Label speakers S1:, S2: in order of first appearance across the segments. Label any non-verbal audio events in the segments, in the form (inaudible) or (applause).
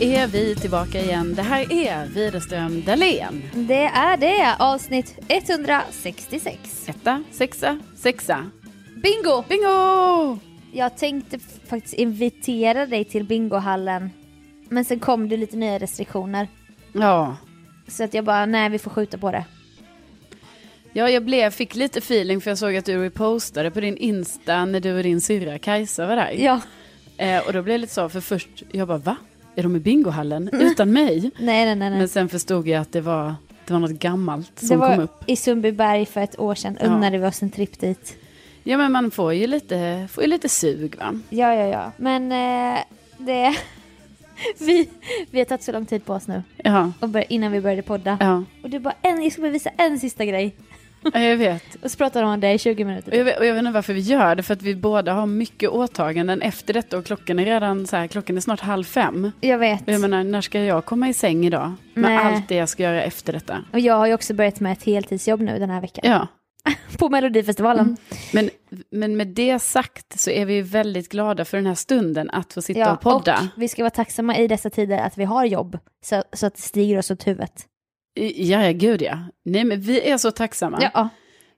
S1: är vi tillbaka igen. Det här är Widerström Dahlén.
S2: Det är det, avsnitt 166.
S1: Etta, sexa, sexa.
S2: Bingo!
S1: Bingo!
S2: Jag tänkte f- faktiskt invitera dig till bingohallen. Men sen kom det lite nya restriktioner.
S1: Ja,
S2: Så att jag bara, nej vi får skjuta på det.
S1: ja jag blev, fick lite feeling för jag såg att du repostade på din Insta när du och din syrra Kajsa var där.
S2: Ja,
S1: Eh, och då blev jag lite så, för först, jag bara va? Är de i bingohallen utan mig?
S2: nej nej Mm. nej. nej.
S1: Men sen förstod jag att det var, det var något gammalt som
S2: det var
S1: kom upp.
S2: i Sundbyberg för ett år sedan,
S1: Ja.
S2: unnade vi oss en tripp dit.
S1: Ja men man får ju lite, får ju lite sug va?
S2: Ja, ja, ja. Men eh, det... (laughs) vi, vi har tagit så lång tid på oss nu,
S1: Ja,
S2: och bör, innan vi började podda.
S1: ja,
S2: Och du bara, en, jag ska bara visa en sista grej.
S1: Ja, jag vet.
S2: Och så pratar de om det i 20 minuter.
S1: Och jag, vet, och jag vet inte varför vi gör det, för att vi båda har mycket åtaganden efter detta och klockan är redan så här, klockan är snart halv fem.
S2: Jag vet.
S1: Och jag menar, när ska jag komma i säng idag? Med
S2: Nej.
S1: allt det jag ska göra efter detta.
S2: Och jag har ju också börjat med ett heltidsjobb nu den här veckan. Mm.
S1: Ja,
S2: På Melodifestivalen.
S1: men, men med det sagt så är vi väldigt glada för den här stunden att få sitta och podda.
S2: och vi ska vara tacksamma i dessa tider att vi har jobb. Så, så att det stiger oss åt huvudet.
S1: I- Ja, ja, gud ja. Nej, men vi är så tacksamma.
S2: Ja, ja.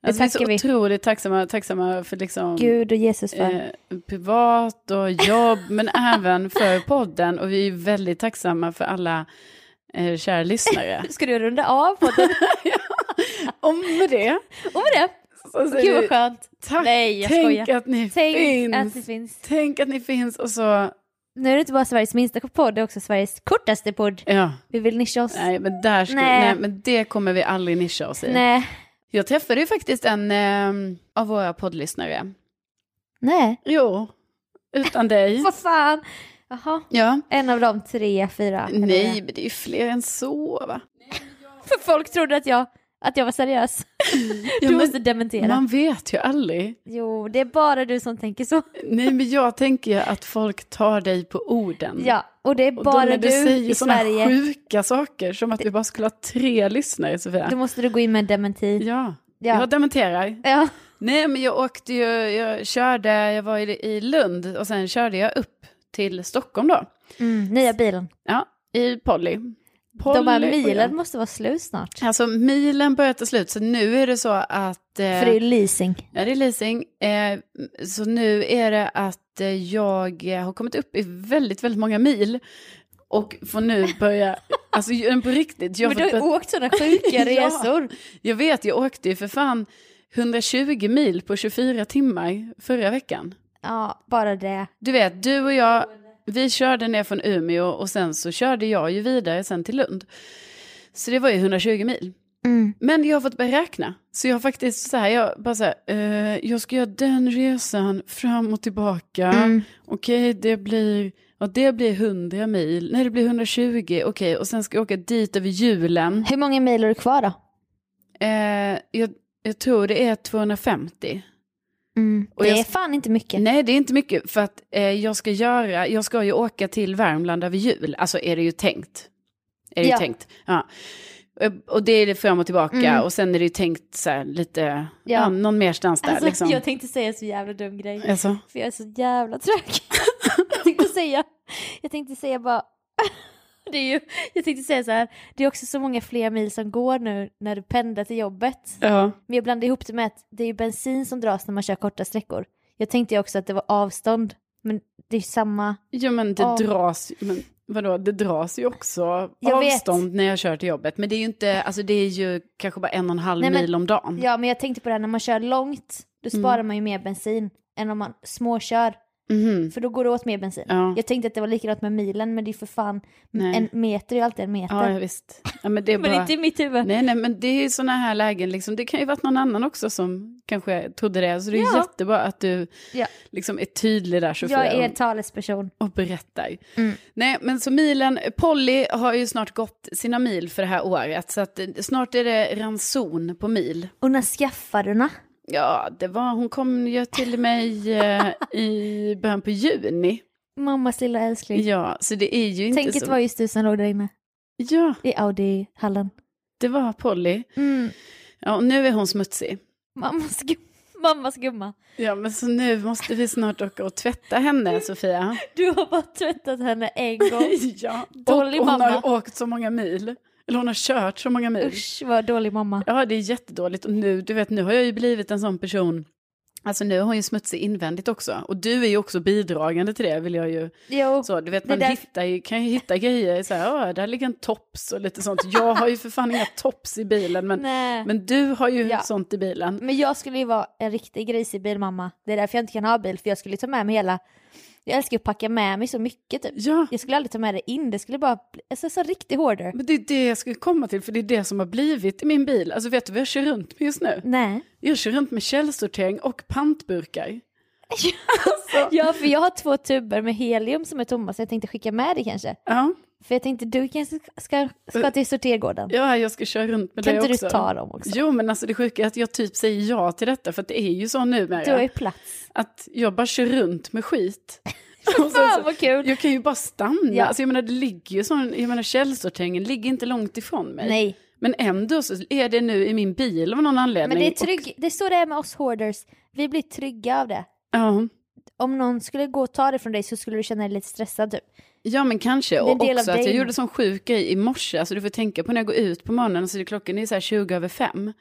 S2: det
S1: alltså, vi är så
S2: tackar vi.
S1: otroligt tacksamma, tacksamma för liksom...
S2: Gud och Jesus för.
S1: Eh, privat och jobb, (laughs) men även för podden. Och vi är väldigt tacksamma för alla eh, kära (laughs) lyssnare.
S2: Ska du runda av podden? (laughs)
S1: Och med det
S2: Och med det,
S1: så
S2: gud
S1: säger
S2: vad
S1: vi
S2: skönt.
S1: tack.
S2: Nej, jag
S1: Tänk
S2: skojar.
S1: att ni
S2: Tänk
S1: finns.
S2: att det finns.
S1: Tänk att ni finns och så,
S2: Nu är det inte bara Sveriges minsta podd, det är också Sveriges kortaste podd.
S1: ja.
S2: Vi vill nischa oss.
S1: Nej, men där skulle,
S2: Nej.
S1: nej. men det kommer vi aldrig nischa oss i.
S2: Nej.
S1: Jag träffade ju faktiskt en eh, av våra poddlyssnare.
S2: Nej.
S1: Jo, utan (laughs) dig.
S2: Vad fan. Jaha.
S1: ja.
S2: En av de tre, fyra. eller vad det
S1: Nej,
S2: är.
S1: men det är ju fler än så, va?
S2: För folk trodde att jag, att jag var seriös.
S1: Ja,
S2: du
S1: men
S2: måste dementera.
S1: man vet ju aldrig.
S2: Jo, det är bara du som tänker så.
S1: Nej, men jag tänker ju att folk tar dig på orden.
S2: Ja, och det är
S1: Och
S2: bara
S1: då när
S2: du,
S1: du säger
S2: i
S1: sådana
S2: Sverige.
S1: sjuka saker, som att vi bara skulle ha tre lyssnare, Sofia.
S2: Då måste du gå in med en dementi.
S1: Ja,
S2: Ja.
S1: jag dementerar.
S2: Ja.
S1: Nej, men jag åkte ju, jag körde, jag var i, i Lund och sen körde jag upp till Stockholm då.
S2: Mm, nya bilen.
S1: Ja, i Polly.
S2: De här
S1: och jag.
S2: milen måste vara slut snart.
S1: Alltså milen börjar ta slut, så nu är det så att... eh,
S2: För det är ju leasing.
S1: Ja, det är leasing. Eh, så nu är det att eh, jag har kommit upp i väldigt, väldigt många mil. Och får nu börja, alltså ju- på riktigt. Jag,
S2: Men
S1: har
S2: du
S1: fått
S2: har åkt sådana sjuka
S1: (laughs) Ja.
S2: resor.
S1: börja- jag vet, jag åkte ju för fan 120 mil på 24 timmar förra veckan.
S2: Ja, bara det.
S1: Du vet, du och jag, vi körde ner från Umeå och sen så körde jag ju vidare sen till Lund. Så det var ju 120 mil.
S2: Mm.
S1: Men jag har fått börja räkna. Så jag har faktiskt så här, jag bara så här, eh, jag ska göra den resan fram och tillbaka.
S2: Mm.
S1: Okej, det blir, ja, det blir 100 mil. Nej, det blir 120. Okej, och sen ska jag åka dit över julen.
S2: Hur många mil har du kvar då?
S1: Eh, jag, jag tror det är 250.
S2: Mm.
S1: Och
S2: det
S1: jag-
S2: är fan inte mycket.
S1: Nej, det är inte mycket. För att eh, jag ska göra, jag ska ju åka till Värmland över jul. Alltså är det ju tänkt. Är det
S2: Ja.
S1: ju tänkt. Ja. Eh, Och det är det fram och tillbaka.
S2: Mm.
S1: Och sen är det ju tänkt så här lite, ja.
S2: Ja.
S1: någon merstans där
S2: Alltså,
S1: liksom.
S2: Jag tänkte säga en så jävla dum grej.
S1: Alltså.
S2: För jag är så jävla trög. (laughs) jag tänkte säga, jag tänkte säga bara, (laughs) det är ju, jag tänkte säga så här, det är också så många fler mil som går nu när du pendlar till jobbet.
S1: Ja.
S2: Men jag blandade ihop det med att det är ju bensin som dras när man kör korta sträckor. Jag tänkte ju också att det var avstånd, men det är ju samma.
S1: Jo men det
S2: Ja.
S1: dras, men vadå, det dras ju också
S2: Jag vet.
S1: avstånd när jag kör till jobbet. Men det är ju inte, alltså det är ju kanske bara en och en halv
S2: Nej, men-
S1: mil om dagen.
S2: Ja, men jag tänkte på det här, när man kör långt, då
S1: Mm.
S2: sparar man ju mer bensin än om man småkör,
S1: Mhm.
S2: för då går det åt mer bensin.
S1: Ja.
S2: Jag tänkte att det var likadant med milen, men det är ju för fan,
S1: Nej.
S2: en meter är ju alltid en meter.
S1: ja, ja visst. Ja, men det är
S2: (laughs) men
S1: bara...
S2: inte i mitt huvud.
S1: Nej, nej, men det är ju sådana här lägen, liksom. det kan ju varit någon annan också som kanske trodde det. Så det är
S2: Ja.
S1: jättebra att du
S2: Ja.
S1: liksom är tydlig där, Sofia,
S2: Jag är
S1: och,
S2: talesperson.
S1: och berättar.
S2: Mm.
S1: Nej, men så milen, Polly har ju snart gått sina mil för det här året, så att eh, snart är det ranson på mil.
S2: Och när skaffade du
S1: Ja, det var, hon kom ju till mig eh, i början på juni.
S2: Mammas lilla älskling.
S1: Ja, så det är ju inte
S2: Tänk att
S1: så...
S2: det var just du som låg där inne
S1: Ja,
S2: i Audi-hallen.
S1: det var Polly.
S2: Mm.
S1: Ja, och nu är hon smutsig.
S2: Mammas, gu- Mammas gumma.
S1: Ja, men så nu måste vi snart åka och tvätta henne, Sofia.
S2: Du har bara tvättat henne en gång.
S1: (laughs) ja. Och
S2: Dålig
S1: hon
S2: mamma.
S1: har åkt så många mil. Eller hon har kört så många mil.
S2: Usch vad dålig mamma.
S1: Ja, det är jättedåligt. Och nu, du vet, nu har jag ju blivit en sån person. Alltså nu har hon ju smutsig invändigt också. Och du är ju också bidragande till det, vill jag ju.
S2: Jo,
S1: Så, du vet,
S2: Det
S1: man
S2: där-
S1: hittar ju, kan ju hitta grejer, så här, "Åh, där ligger en tops och lite sånt. Jag har ju för fan inga tops i bilen, men,
S2: nej. Men...
S1: men du har ju
S2: Ja. Mm.
S1: sånt i bilen.
S2: jag skulle ju vara en riktig grisig bilmamma. Det är därför jag inte kan ha bil, för jag skulle ta med mig hela... Jag älskar ju att packa med mig så mycket typ.
S1: Ja,
S2: Jag skulle aldrig ta med det in, det skulle bara bli... Alltså så riktig hoarder.
S1: men det är det jag skulle komma till, för det är det som har blivit i min bil. Alltså vet du vad jag kör runt med just nu?
S2: Nej.
S1: Jag kör runt med källsortering och pantburkar.
S2: Ja, för jag har två tuber med helium som är tomma, så jag tänkte skicka med det kanske.
S1: Ja,
S2: För jag tänkte du kanske ska, ska till sortergården.
S1: ja jag ska köra runt med
S2: kan
S1: det
S2: inte
S1: också.
S2: du ta dem också?
S1: Jo, men alltså det sjuka är att jag typ säger ja till detta, för att det är ju så
S2: Du har
S1: numera.
S2: ju plats.
S1: Att jag bara kör runt med skit.
S2: (laughs)
S1: Och sen så-
S2: Fan Ah, vad kul!
S1: Jag kan ju bara stanna.
S2: Ja.
S1: Alltså, jag menar, det ligger ju sån, jag menar, källsorteringen ligger inte långt ifrån mig.
S2: Nej,
S1: Men ändå så är det nu i min bil av någon anledning.
S2: men det är
S1: Och-
S2: trygg, det är så det är med oss hoarders. Vi blir trygga av det.
S1: Ja.
S2: Om någon skulle gå och ta det från dig så skulle du känna dig lite stressad typ.
S1: ja, men kanske.
S2: är en
S1: Och
S2: del av
S1: också att jag
S2: dig.
S1: gjorde sån sjuk grej i morse. Alltså du får tänka på när jag går ut på morgonen, så är det klockan är så här 20 över fem.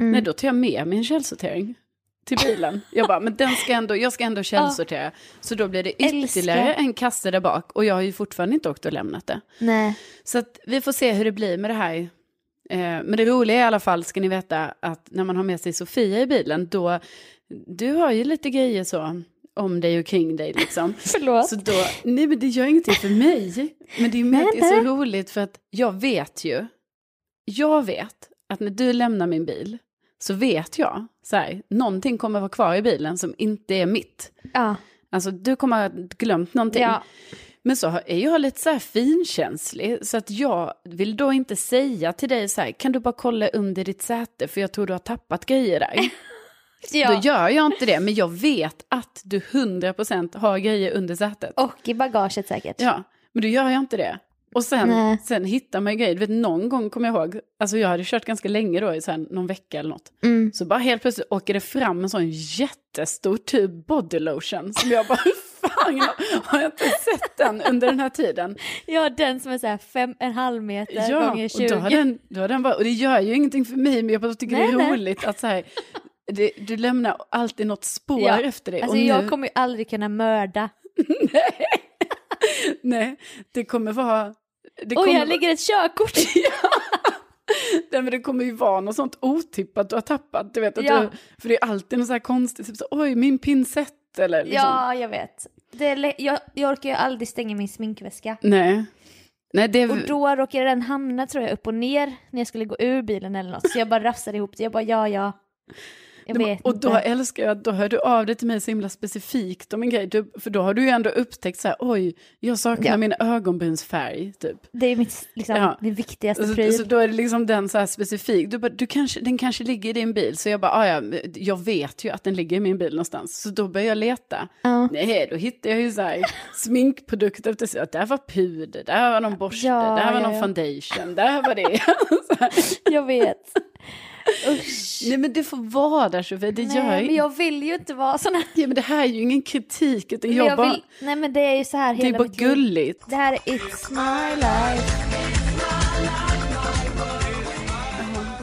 S2: Mm.
S1: Nej, då tar jag med mig en källsortering till bilen. Jag bara, men den ska ändå, jag ska ändå källsortera. Så då blir det
S2: Älskar.
S1: ytterligare en kasse där bak. Och jag har ju fortfarande inte åkt och lämnat det.
S2: Nej.
S1: Så att vi får se hur det blir med det här. Eh, Men det roliga i alla fall ska ni veta att när man har med sig Sofia i bilen då, du har ju lite grejer så om dig och kring dig liksom.
S2: Förlåt.
S1: Så då, nej men det gör ingenting för mig. Men det är ju med att det är så roligt för att jag vet ju, jag vet att när du lämnar min bil så vet jag, så här, någonting kommer vara kvar i bilen som inte är mitt.
S2: Ja.
S1: Alltså du kommer ha glömt någonting.
S2: ja.
S1: Men så har- är jag lite så här finkänslig, så att jag vill då inte säga till dig så här, kan du bara kolla under ditt säte för jag tror du har tappat grejer där. Då
S2: (laughs) ja.
S1: gör jag inte det, men jag vet att du 100% har grejer under sätet.
S2: Och i bagaget säkert.
S1: Ja, men då gör jag inte det. Och sen,
S2: Nej.
S1: sen hittar man grejer, du vet någon gång kommer jag ihåg, alltså jag hade kört ganska länge då, i så här någon vecka eller något.
S2: Mm.
S1: Så bara helt plötsligt åker det fram en sån jättestor tub body lotion som jag bara, hur fan har jag inte sett den under den här tiden?
S2: ja, den som är så här fem, en halv meter gånger 20.
S1: och, då har den, då har den bara, och det gör ju ingenting för mig, men jag bara tycker
S2: Nej,
S1: det är
S2: nej.
S1: roligt att så här, det, du lämnar alltid något spår
S2: Ja,
S1: efter dig.
S2: Alltså
S1: och nu,
S2: jag kommer ju aldrig kunna mörda.
S1: Nej, det kommer vara... Det
S2: Oj,
S1: kommer,
S2: här ligger
S1: (laughs)
S2: ett körkort!
S1: nej, men det kommer ju vara något sånt otippat du har tappat. Du vet, att
S2: Ja.
S1: du, för det är alltid något så här konstigt, typ så, oj, min pinsett eller liksom.
S2: Ja, jag vet. Det är lä- jag, jag orkar ju aldrig stänga min sminkväska.
S1: Nej. Nej, det
S2: Och då råkade den hamna tror jag upp och ner när jag skulle gå ur bilen eller något. Så jag bara rafsade ihop det. Jag bara ja, ja. Jag
S1: Nej, men-
S2: vet
S1: och då
S2: inte.
S1: älskar jag att då hör du av dig till mig så himla specifikt om en grej. Du, för då har du ju ändå upptäckt så här, oj, jag saknar
S2: Ja.
S1: min ögonbrynsfärg, typ.
S2: Det är mitt, liksom,
S1: Ja.
S2: min viktigaste
S1: Så,
S2: pryl.
S1: så då är det liksom den så här specifik. Du bara, du kanske, den kanske ligger i din bil. Så jag bara, "Ah, ja, jag vet ju att den ligger i min bil någonstans. Så då börjar jag leta.
S2: Ja.
S1: Nej, då hittar jag ju så
S2: (laughs)
S1: här sminkprodukter efter sig. Att Där var puder, där var någon borste,
S2: Ja,
S1: där var
S2: ja,
S1: någon
S2: ja.
S1: foundation, där var
S2: (laughs)
S1: det.
S2: Jag vet. Usch.
S1: Nej men det får vara där Sofia, det gör
S2: Nej,
S1: jag
S2: men
S1: inte.
S2: jag vill ju inte vara sån här.
S1: Ja, men det här är ju ingen kritik, utan
S2: Men
S1: jag,
S2: jag
S1: bara,
S2: vill... Nej men det är ju så här
S1: det är
S2: hela
S1: bara
S2: mitt liv.
S1: gulligt.
S2: Det här är It's my life.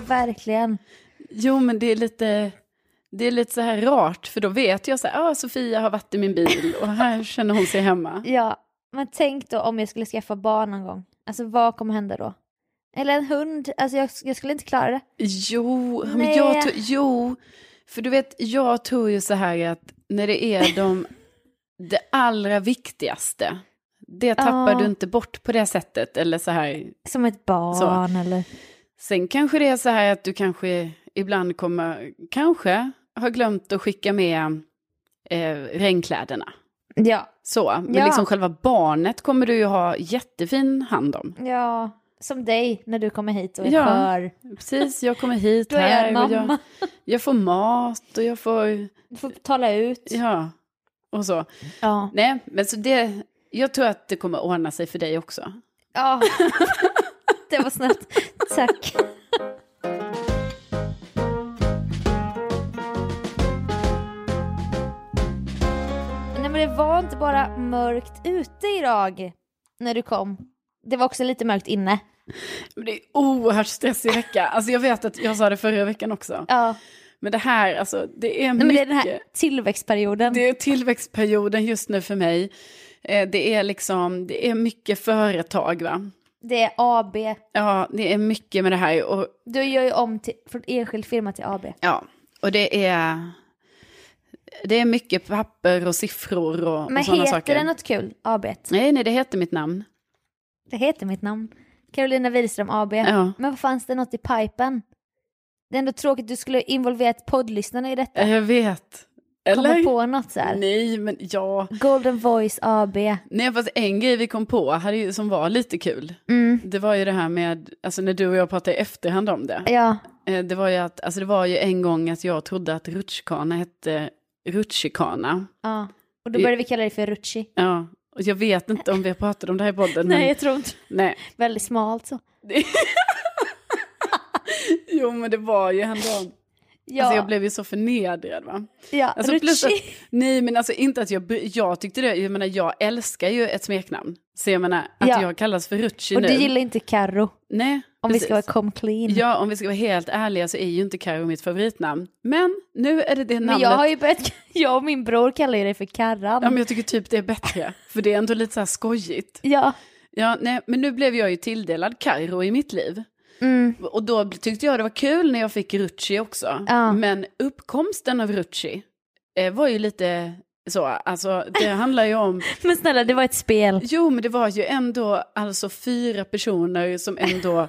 S2: Verkligen.
S1: Jo, men det är lite, det är lite så här rart, för då vet jag så här, ah, Sofia har varit i min bil och här känner hon sig hemma.
S2: Ja, men tänk då om jag skulle skaffa barn någon gång. Alltså vad kommer hända då? Eller en hund, alltså jag, jag skulle inte klara det.
S1: Jo, men
S2: Nej.
S1: jag tror, jo, för du vet, jag tror ju så här att när det är de,
S2: (laughs)
S1: det allra viktigaste, det tappar
S2: Ja.
S1: du inte bort på det sättet, eller så här,
S2: Som ett barn eller...
S1: sen kanske det är så här att du kanske ibland kommer, kanske har glömt att skicka med eh, regnkläderna.
S2: Ja,
S1: Så, men
S2: Ja.
S1: liksom själva barnet kommer du ju ha jättefin hand om.
S2: ja. Som dig när du kommer hit och är
S1: Ja.
S2: skör.
S1: Precis, jag kommer hit
S2: (laughs) Då är jag
S1: här
S2: en
S1: och jag,
S2: mamma.
S1: jag får mat och jag får,
S2: Du får tala ut.
S1: ja, och så.
S2: Ja.
S1: Nej, men så det, jag tror att det kommer ordna sig för dig också.
S2: ja. (laughs) det var snällt. Tack. men det var inte bara mörkt ute idag när du kom. Det var också lite mörkt inne.
S1: Men det är oerhört stressig vecka. Alltså jag vet att jag sa det förra veckan också.
S2: Ja.
S1: Men det här, alltså det är mycket.
S2: Nej, men det är den här tillväxtperioden.
S1: Det är tillväxtperioden just nu för mig. Eh, Det är liksom, det är mycket företag va.
S2: Det är AB.
S1: Ja, det är mycket med det här och
S2: Du gör ju om till, från enskild firma till AB.
S1: ja, och det är, det är mycket papper och siffror och,
S2: Men
S1: och sådana
S2: heter
S1: saker.
S2: det något kul? AB.
S1: Nej, nej, det heter mitt namn.
S2: Det heter mitt namn. Carolina Wihlström AB.
S1: Ja.
S2: Men vad fanns det något i pipen? Det är ändå tråkigt, du skulle involvera ett poddlyssnarna i detta.
S1: Jag vet.
S2: Komma
S1: Eller?
S2: på något så här.
S1: Nej, men ja.
S2: Golden Voice AB.
S1: Nej, fast en grej vi kom på hade ju, som var lite kul,
S2: Mm.
S1: det var ju det här med, alltså när du och jag pratade i efterhand om det,
S2: Ja,
S1: eh, det var ju att, alltså det var ju en gång att jag trodde att rutschkana hette rutschikana.
S2: ja. Och då började vi kalla det för Rutschi.
S1: Ja, och jag vet inte om vi har pratat om det här i podden, men
S2: Nej, jag tror inte.
S1: nej.
S2: Väldigt smalt så.
S1: Jo, men det var ju ändå,
S2: Ja,
S1: alltså jag blev ju så förnedrad va.
S2: ja.
S1: Alltså, plus
S2: Rutschi.
S1: att, nej men alltså inte att jag, bry- jag tyckte det, jag menar jag älskar ju ett smeknamn. Så jag menar att
S2: Ja.
S1: jag kallas för Rutschi
S2: Och
S1: nu.
S2: du gillar inte Carro,
S1: Nej,
S2: om vi
S1: precis.
S2: ska vara come clean.
S1: Ja, om vi ska vara helt ärliga så är ju inte Carro mitt favoritnamn. Men nu är det det namnet.
S2: Men jag har ju börjat, (laughs) jag och min bror kallar ju dig för Karran.
S1: Ja, men jag tycker typ det är bättre. För det är ändå lite så här skojigt.
S2: Ja.
S1: Ja, nej, men nu blev jag ju tilldelad Carro i mitt liv.
S2: Mm.
S1: Och då tyckte jag det var kul när jag fick Rutschi också.
S2: Ja.
S1: Men uppkomsten av Rutschi eh, var ju lite så, alltså
S2: (laughs)
S1: det handlar ju om
S2: Men snälla, det var ett spel.
S1: Jo, men det var ju ändå alltså fyra personer som
S2: (laughs)
S1: ändå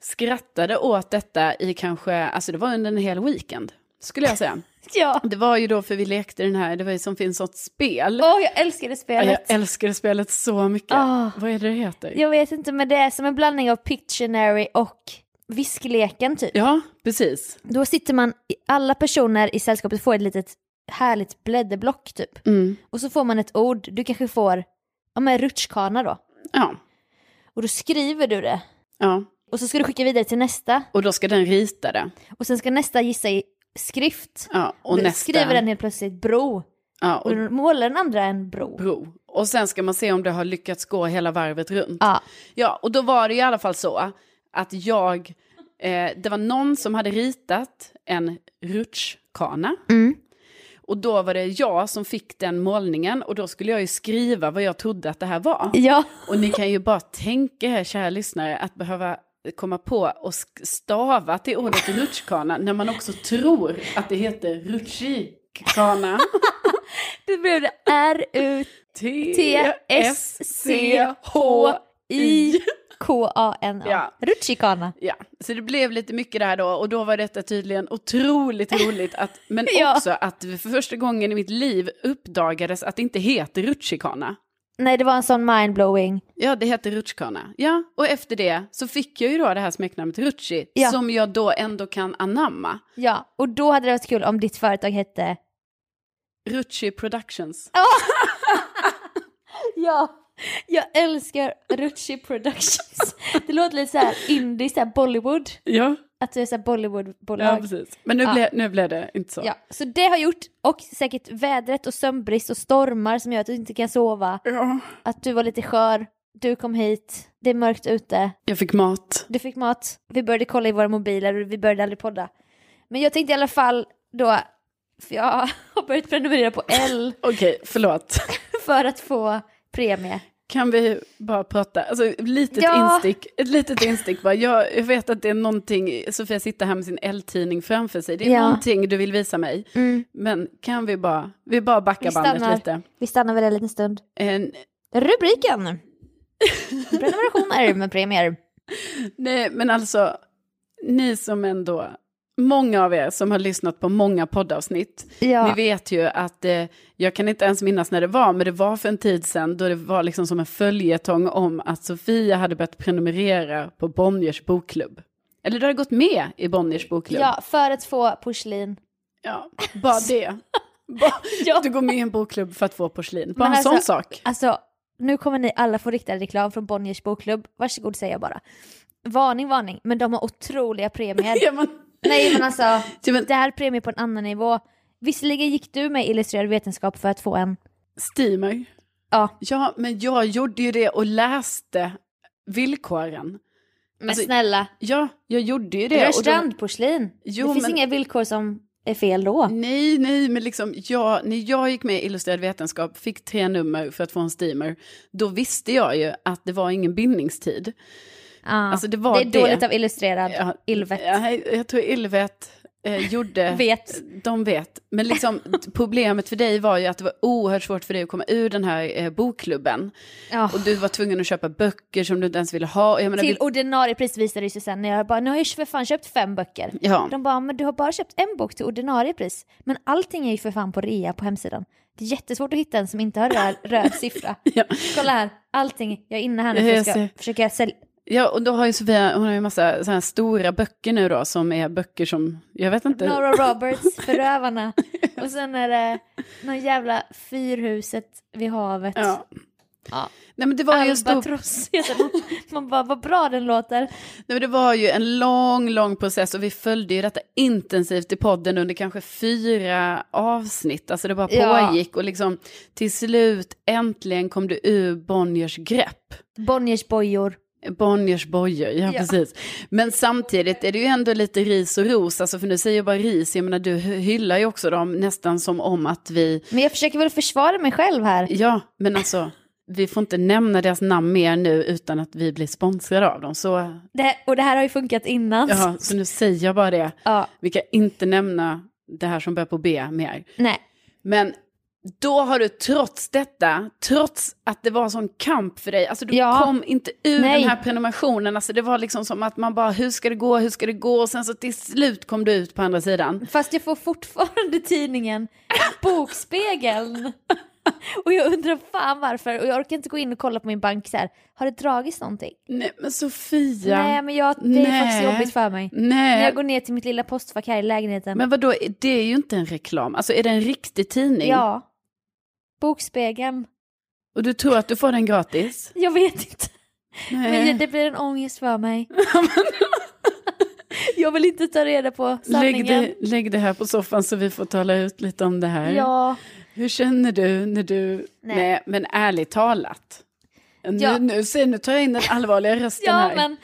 S1: skrattade åt detta i kanske, alltså det var under en hel weekend, skulle jag säga.
S2: Ja.
S1: Det var ju då, för vi lekte den här, det var ju som finns något spel.
S2: Åh, jag älskade
S1: Ja, jag
S2: spelet.
S1: älskar det spelet så mycket.
S2: Ah.
S1: Vad är det det heter?
S2: Jag vet inte, men det är som en blandning av Pictionary och viskleken typ.
S1: Ja, precis.
S2: Då sitter man, alla personer i sällskapet får ett litet härligt blädderblock typ.
S1: Mm.
S2: Och så får man ett ord, du kanske får, ja men rutschkana då.
S1: Ja,
S2: Och då skriver du det.
S1: ja,
S2: Och så ska du skicka vidare till nästa.
S1: och då ska den rita det.
S2: Och sen ska nästa gissa i skrift.
S1: Ja, och
S2: då
S1: nästa.
S2: skriver den helt plötsligt bro.
S1: Ja,
S2: Och
S1: och
S2: då målar den andra en bro.
S1: bro. Och sen ska man se om det har lyckats gå hela varvet runt.
S2: Ja.
S1: Ja, och då var det i alla fall så att jag, eh, det var någon som hade ritat en rutschkana.
S2: Mm.
S1: Och då var det jag som fick den målningen och då skulle jag ju skriva vad jag trodde att det här var.
S2: Ja. (laughs)
S1: Och ni kan ju bara tänka här, kära lyssnare, att behöva komma på och sk- stava till ordet rutschkana när man också tror att det heter
S2: (laughs)
S1: rutschikana.
S2: Då blev det R-U-T-S-C-H-I-K-A-N-A.
S1: Ja.
S2: Rutschikana.
S1: Ja, så det blev lite mycket där då och då var detta tydligen otroligt roligt. Att, men
S2: (laughs) Ja.
S1: också att för första gången i mitt liv uppdagades att det inte heter rutschkana.
S2: Nej, det var en sån mindblowing.
S1: Ja, det heter rutschkana. Ja, och efter det så fick jag ju då det här smeknamnet Rutschi
S2: Ja.
S1: som jag då ändå kan anamma.
S2: Ja, och då hade det varit kul om ditt företag hette...
S1: Rutschi Productions.
S2: Ja, jag älskar Rutschi Productions. (laughs) Det låter lite så här indie, så här Bollywood.
S1: Ja,
S2: Att du är så här
S1: ja
S2: Bollywood-bolag.
S1: precis. Men nu,
S2: Ja.
S1: blev, nu blev det inte så.
S2: Ja, så det har gjort, och säkert vädret och sömnbrist och stormar som gör att du inte kan sova,
S1: Ja.
S2: att du var lite skör, du kom hit, det är mörkt ute,
S1: Jag fick mat.
S2: du fick mat, vi började kolla i våra mobiler och vi började aldrig podda. Men jag tänkte i alla fall då, för jag (laughs) har börjat prenumerera på L
S1: Okej, förlåt.
S2: för att få premie.
S1: Kan vi bara prata, alltså ett litet
S2: Ja.
S1: instick, ett litet instick bara. Jag, jag vet att det är någonting, Sofia sitter här med sin L-tidning framför sig, det är
S2: Ja.
S1: någonting du vill visa mig.
S2: Mm.
S1: Men kan vi bara, vi bara backar
S2: Vi
S1: bandet
S2: stannar.
S1: lite. Eh,
S2: Vi stannar väl en liten stund.
S1: En,
S2: (laughs) Rubriken! Prenumerationer med premier.
S1: nej, men alltså, ni som ändå, många av er som har lyssnat på många poddavsnitt,
S2: Ja.
S1: ni vet ju att, eh, jag kan inte ens minnas när det var, men det var för en tid sedan då det var liksom som en följetong om att Sofia hade börjat prenumerera på Bonniers bokklubb. Eller du hade gått med i Bonniers bokklubb.
S2: ja, för att få porslin.
S1: (laughs) Ja, bara det. Bara,
S2: Ja.
S1: Du går med i en bokklubb för att få porslin. Bara
S2: Men
S1: en
S2: alltså-
S1: sån sak.
S2: Alltså, nu kommer ni alla få riktad reklam från Bonniers bokklubb. Varsågod säger jag bara. Varning, varning, men de har
S1: (laughs)
S2: otroliga premier.
S1: Ja, men,
S2: Nej men alltså,
S1: ja, men,
S2: det här är premier på en annan nivå. Visserligen gick du med illustrerad vetenskap för att få en
S1: Steamer.
S2: Ja.
S1: Ja, men jag gjorde ju det och läste villkoren.
S2: Men
S1: Alltså,
S2: snälla,
S1: Ja, jag gjorde ju
S2: det
S1: det.
S2: är
S1: och då-
S2: strandporslin.
S1: Jo,
S2: det finns
S1: men-
S2: inga villkor som är fel då.
S1: (laughs) Nej, nej, men liksom jag, när jag gick med i Illustrerad vetenskap, fick tre nummer för att få en steamer, då visste jag ju att det var ingen bindningstid.
S2: Ja.
S1: Alltså det
S2: det
S1: var
S2: är
S1: det.
S2: dåligt av illustrerad
S1: Ja.
S2: Ylvet.
S1: Ja, jag tror Ylvet eh, gjorde...
S2: (laughs) Vet.
S1: De vet. Men liksom, problemet för dig var ju att det var oerhört svårt för dig att komma ur den här eh, bokklubben.
S2: Ja.
S1: Och du var tvungen att köpa böcker som du inte ens ville ha. Och Jag menar,
S2: Till
S1: vi-
S2: ordinarie pris visade det sig sen när jag bara, nu har jag ju för fan köpt fem böcker.
S1: ja.
S2: De bara, men du har bara köpt en bok till ordinarie pris. Men allting är ju för fan på rea på hemsidan. Det är jättesvårt att hitta en som inte har röd, röd siffra.
S1: (laughs) Ja.
S2: Kolla här, allting, jag är inne här nu
S1: Ja,
S2: för
S1: jag
S2: att ska,
S1: ser.
S2: försöka sälja.
S1: ja, och då har ju Sofia, hon har ju massa sådana här stora böcker nu då, som är böcker som, jag vet inte.
S2: Nora Roberts,
S1: (laughs)
S2: Förövarna. Och sen är det någon jävla Fyrhuset vid havet.
S1: Ja.
S2: Ja.
S1: Nej, men det var ju en stor
S2: Albatross (laughs) heter den. Man bara, vad bra den låter.
S1: Nej, men det var ju en lång, lång process och vi följde ju detta intensivt i podden under kanske fyra avsnitt. Alltså det bara
S2: Ja.
S1: pågick och liksom till slut äntligen kom du ur Bonniers grepp.
S2: Bonniers bojor.
S1: Bonniers bojor, ja,
S2: Ja.
S1: precis. Men samtidigt är det ju ändå lite ris och ros, alltså för nu säger jag bara ris, jag menar du hyllar ju också dem nästan som om att vi,
S2: Men jag försöker väl försvara mig själv här.
S1: ja men alltså vi får inte nämna deras namn mer nu utan att vi blir sponsrade av dem. Så,
S2: Det här, och det här har ju funkat innan.
S1: ja, så nu säger jag bara det.
S2: Ja,
S1: Vi kan inte nämna det här som börjar på B mer.
S2: nej.
S1: Men då har du trots detta, trots att det var sån kamp för dig, alltså du
S2: Ja.
S1: kom inte ur
S2: Nej.
S1: den här prenumerationen, alltså det var liksom som att man bara, hur ska det gå, hur ska det gå, och sen så till slut kom du ut på andra sidan.
S2: Fast jag får fortfarande tidningen
S1: (laughs)
S2: Bokspegeln. Och jag undrar fan varför. Och jag orkar inte gå in och kolla på min bank så här. Har det dragits någonting?
S1: Nej men Sofia,
S2: Nej, men jag, det är
S1: Nej.
S2: faktiskt jobbigt för mig. När
S1: nej,
S2: jag går ner till mitt lilla postfack här i lägenheten.
S1: men vadå, det är ju inte en reklam, alltså är det en riktig tidning?
S2: Ja. Bokspegeln.
S1: Och du tror att du får den gratis?
S2: Jag vet inte.
S1: (laughs) Nej.
S2: Men det blir en ångest
S1: (laughs)
S2: för mig. (laughs) jag vill inte ta reda på
S1: Lägg
S2: sanningen.
S1: det, lägg det här på soffan så vi får tala ut lite om det här.
S2: Ja.
S1: Hur känner du när du...
S2: Nej.
S1: Nej, men ärligt talat. Nu,
S2: Ja.
S1: nu, se, nu tar jag in den allvarliga rösten
S2: Ja
S1: här.
S2: men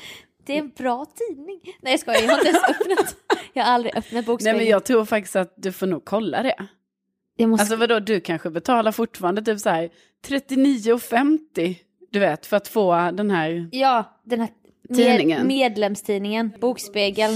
S2: det är en bra tidning. Nej jag skojar, jag har inte ens öppnat. Jag har aldrig öppnat
S1: Nej,
S2: bokspegeln.
S1: men jag tror faktiskt att du får nog kolla det.
S2: Jag måste...
S1: Alltså vadå, du kanske betalar fortfarande typ så här 39,50 du vet, för att få den här...
S2: Ja, den här
S1: Tidningen.
S2: medlemstidningen. Bokspegeln.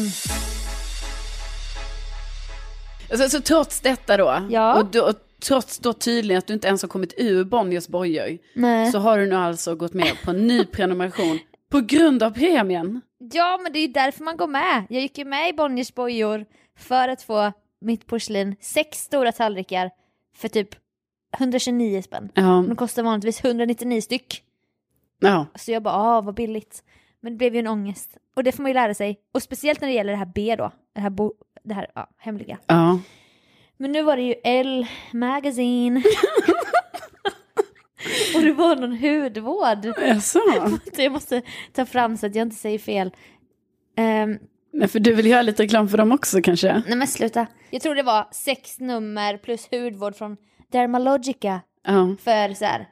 S1: Alltså, så trots detta då,
S2: Ja.
S1: och, då, och trots då tydligen att du inte ens har kommit ur Bonniers bojor,
S2: Nej.
S1: så har du nu alltså gått med på en ny prenumeration på grund av premien.
S2: Ja men det är ju därför man går med. Jag gick ju med i Bonniers bojor för att få mitt porslin, sex stora tallrikar för typ 129 spänn.
S1: Ja,
S2: De kostar vanligtvis 199 styck.
S1: ja.
S2: Så jag bara, ah vad billigt. Men det blev ju en ångest. Och det får man ju lära sig. Och speciellt när det gäller det här B då. Det här, bo- det här ja, hemliga.
S1: ja.
S2: Men nu var det ju L Magazine. (laughs) och det var någon hudvård.
S1: Jaså?
S2: Så jag måste ta fram så att jag inte säger fel. Ehm,
S1: Nej, för du vill göra lite reklam för dem också kanske?
S2: nej men sluta. Jag tror det var sex nummer plus hudvård från Dermalogica
S1: Ja.
S2: för så här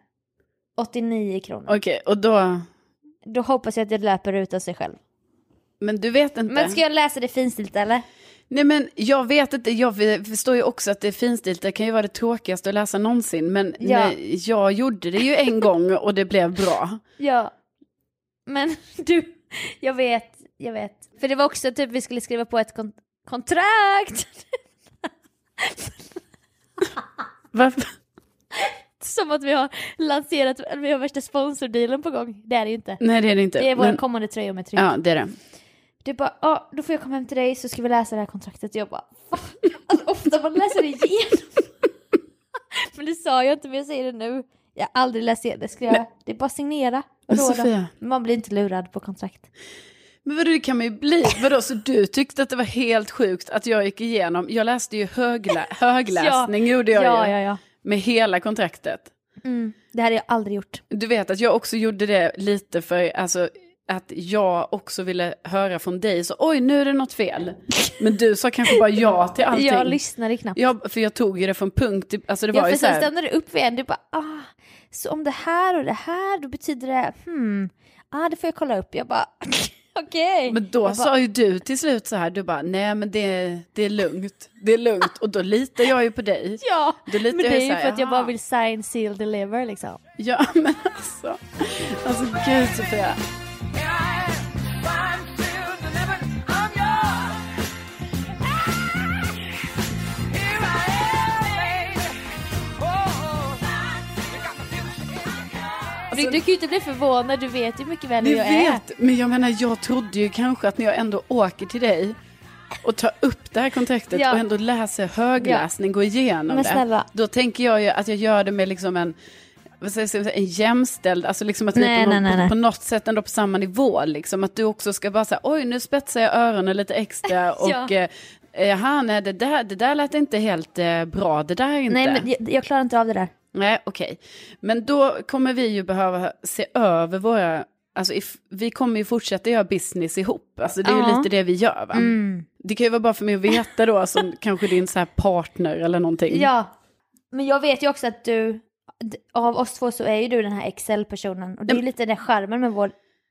S2: 89 kronor.
S1: Okej, och då...
S2: Då hoppas jag att jag löper ut av sig själv.
S1: Men du vet inte?
S2: Men ska jag läsa det finstilt eller?
S1: Nej men jag vet inte, jag förstår ju också att det är finstilt, det kan ju vara det tråkigaste att läsa någonsin. Men
S2: Ja.
S1: nej, jag gjorde det ju en gång och det blev bra.
S2: Ja. Men (laughs) du, jag vet, jag vet. För det var också typ vi skulle skriva på ett kon- kontrakt. (laughs)
S1: Varför?
S2: Som att vi har lanserat, eller vi har värsta sponsordealen på gång. Det är det ju inte.
S1: Nej det är det inte.
S2: Det är vår
S1: Men-
S2: kommande tröja med tryck.
S1: Ja det är det.
S2: Du bara, ja då får jag komma hem till dig så ska vi läsa det här kontraktet. Jag bara, "Va?" (laughs) alltså, ofta man läser det igenom. (laughs) men det sa jag inte men jag säger det nu. Jag har aldrig läst igenom det, ska jag, det är bara signera. Och
S1: Men
S2: då, då.
S1: Sofia,
S2: Man blir inte lurad på kontrakt.
S1: men vadå det kan man ju bli. Vadå så du tyckte att det var helt sjukt att jag gick igenom, jag läste ju
S2: (laughs)
S1: höglä- högläsning gjorde jag
S2: ja,
S1: ju.
S2: ja, ja.
S1: Med hela kontraktet.
S2: Mm. Det här har jag aldrig gjort.
S1: Du vet att jag också gjorde det lite för, alltså att jag också ville höra från dig, så oj nu är det något fel. Men du sa kanske bara ja
S2: (laughs)
S1: till allting.
S2: Jag lyssnade knappt.
S1: Ja, för jag tog ju det från punkt till, alltså det var
S2: ja,
S1: ju
S2: för
S1: så
S2: sen
S1: här,
S2: stannade du upp igen. Du bara ah, så om det här och det här då betyder det hmm, ah det får jag kolla upp. Jag bara (laughs) okej.
S1: men då
S2: Jag bara,
S1: sa ju du till slut så här, du bara nej men det, det är lugnt, det är lugnt. Och då litar jag ju på dig.
S2: Ja,
S1: Då litar
S2: men det
S1: jag
S2: är
S1: ju
S2: ju
S1: så här,
S2: för att jag bara
S1: "Jaha."
S2: vill sign, seal, deliver liksom.
S1: Ja (laughs) men alltså, alltså gud Sofia.
S2: du, du kan ju inte bli förvånad, du vet ju mycket väl hur
S1: Alltså- Ni
S2: jag är.
S1: vet, men jag menar jag trodde ju kanske att när jag ändå åker till dig och tar upp det här kontraktet
S2: Ja.
S1: och ändå läser högläsning, går igenom
S2: Men
S1: det.
S2: snälla.
S1: Då tänker jag ju att jag gör det med liksom en, vad säger jag, en jämställd, alltså liksom att
S2: Nej,
S1: vi på,
S2: nej,
S1: någon,
S2: nej, nej.
S1: på något sätt ändå på samma nivå liksom. Att du också ska bara säga, oj nu spetsar jag öronen lite extra
S2: (laughs) Ja.
S1: och eh, eh, här, nej, det, där, det där lät inte helt eh, bra, det där är inte.
S2: Nej men jag, jag klarar inte av det där.
S1: Nej, okej. Men då kommer vi ju behöva se över våra... Alltså if, vi kommer ju fortsätta göra business ihop. Alltså det är ju
S2: Ja. Mm.
S1: lite det vi gör va? Det kan ju vara bara för mig att veta då som (laughs) kanske din så här partner eller någonting.
S2: Ja, men jag vet ju också att du, d- av oss två så är ju du den här Excel-personen. Och det är ju lite den charmen med vår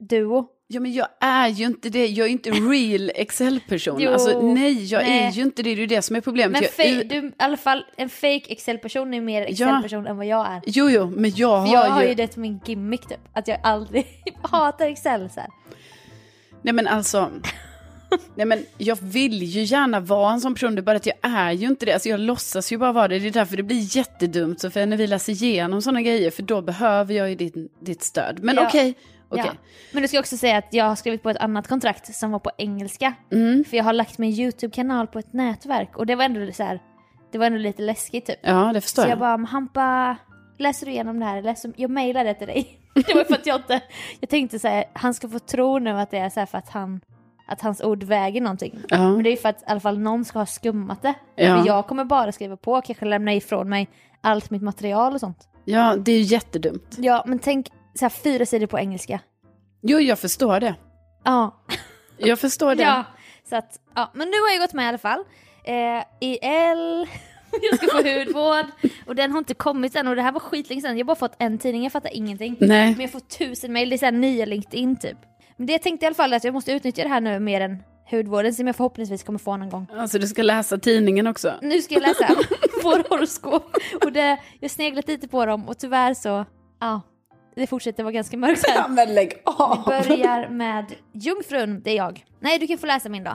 S2: duo.
S1: ja, men jag är ju inte det. Jag är inte real Excel-person.
S2: (laughs) Jo,
S1: Alltså nej, jag är
S2: nej.
S1: ju inte det. Det är ju det som är problemet.
S2: Men
S1: jag,
S2: fej, du, i alla fall en fake Excel-person är mer Excel-person än vad jag är.
S1: Jo, jo, men jag
S2: För
S1: har,
S2: jag har
S1: ju...
S2: ju det som min gimmick typ, att jag aldrig (laughs) hatar Excel så här.
S1: Nej men alltså, nej men jag vill ju gärna vara en sån person, det är bara att jag är ju inte det. Alltså jag låtsas ju bara vara det, det är därför det blir jättedumt. Så för när vi läser igenom sådana grejer, för då behöver jag ju ditt, ditt stöd. Men
S2: Ja.
S1: okej,
S2: Ja.
S1: okej.
S2: Men du ska jag också säga att jag har skrivit på ett annat kontrakt som var på engelska.
S1: Mm.
S2: För jag har lagt min YouTube-kanal på ett nätverk och det var ändå så här, det var ändå lite läskigt typ.
S1: Ja, det förstår
S2: Så
S1: jag.
S2: jag bara, "Men Hampa, läser du igenom det här? Eller så- Jag mejlade det till dig. (laughs) Det var för att jag inte, jag tänkte så här, han ska få tro nu att det är så här för att han, att hans ord väger någonting.
S1: Ja.
S2: Men det är ju för att i alla fall någon ska ha skummat det.
S1: Ja.
S2: För jag kommer bara skriva på och kanske lämna ifrån mig allt mitt material och sånt.
S1: ja, det är ju jättedumt.
S2: Ja, men tänk så här fyra sidor på engelska.
S1: Jo, jag förstår det.
S2: Ja,
S1: Jag förstår det.
S2: ja. Så att, ja, men nu har jag gått med i alla fall. Eh, I L, (laughs) jag ska få hudvård och den har inte kommit än och det här var skitlänge sedan. Jag har bara fått en tidning, jag fattar ingenting.
S1: Nej,
S2: Men jag får tusen mejl, det är såhär nya LinkedIn typ. Men det jag tänkte i alla fall är att jag måste utnyttja det här nu mer än hudvården som jag förhoppningsvis kommer få någon gång.
S1: alltså du ska läsa tidningen också.
S2: Nu ska jag läsa (laughs) vår horoskop och det, jag sneglat lite på dem och tyvärr så, ja, det fortsätter vara ganska
S1: (laughs)
S2: mörkt här.
S1: men lägg
S2: Vi
S1: av!
S2: börjar med Jungfrun, det är jag. Nej, du kan få läsa min då.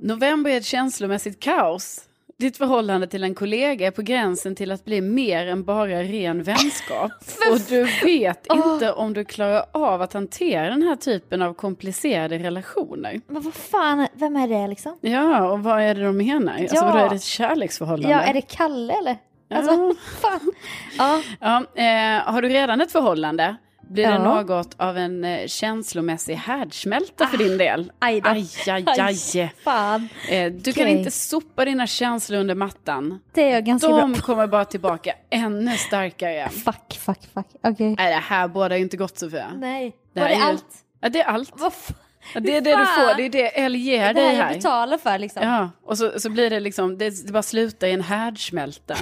S1: November är ett känslomässigt kaos. Ditt förhållande till en kollega är på gränsen till att bli mer än bara ren
S2: (laughs)
S1: vänskap. Och du vet
S2: Ah.
S1: inte om du klarar av att hantera den här typen av komplicerade relationer.
S2: Men vad fan, vem är det liksom?
S1: Ja, och vad är det de menar? Alltså,
S2: Ja.
S1: vadå, är det ett kärleksförhållande?
S2: Ja, är det Kalle eller?
S1: Ja.
S2: Alltså, (laughs) fan. Ja,
S1: Ja, eh, har du redan ett förhållande? Blir det
S2: Ja.
S1: något av en eh, känslomässig härdsmälta för din del?
S2: Ah, aj då.
S1: Aj, aj, aj.
S2: (laughs) Aj, fan.
S1: Eh, du kan
S2: Okej.
S1: inte sopa dina känslor under mattan.
S2: Det är jag ganska bra
S1: De kommer bara tillbaka ännu starkare.
S2: Fuck, fuck, fuck. Okej.
S1: Nej, det här båda är ju inte gott Sofia.
S2: Nej.
S1: Det
S2: var
S1: här
S2: det
S1: är ju-
S2: allt?
S1: Ja, det är allt.
S2: Vad fan?
S1: Ja, Det är det du får, det är det L ger
S2: Det
S1: dig
S2: här jag
S1: här.
S2: betalar för liksom.
S1: Ja, och så, så blir det liksom, det, det bara slutar i en härdsmälta.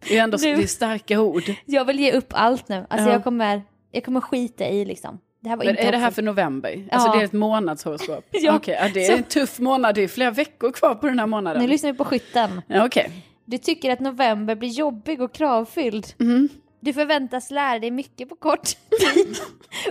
S1: Det är ju ändå
S2: Nu-
S1: det är starka ord.
S2: Jag vill ge upp allt nu. Alltså
S1: Ja.
S2: jag kommer, jag kommer skita i liksom. Det här var
S1: Men
S2: inte
S1: är det här
S2: hoppfullt.
S1: för november? Alltså
S2: Ja.
S1: det är ett månadshoroskop.
S2: (laughs) Ja,
S1: Okej, ja, det är
S2: så-
S1: en tuff månad, det är flera veckor kvar på den här månaden.
S2: Nu lyssnar vi på skytten.
S1: Ja, Okej,
S2: Du tycker att november blir jobbig och kravfylld. Du förväntas lära dig mycket på kort tid.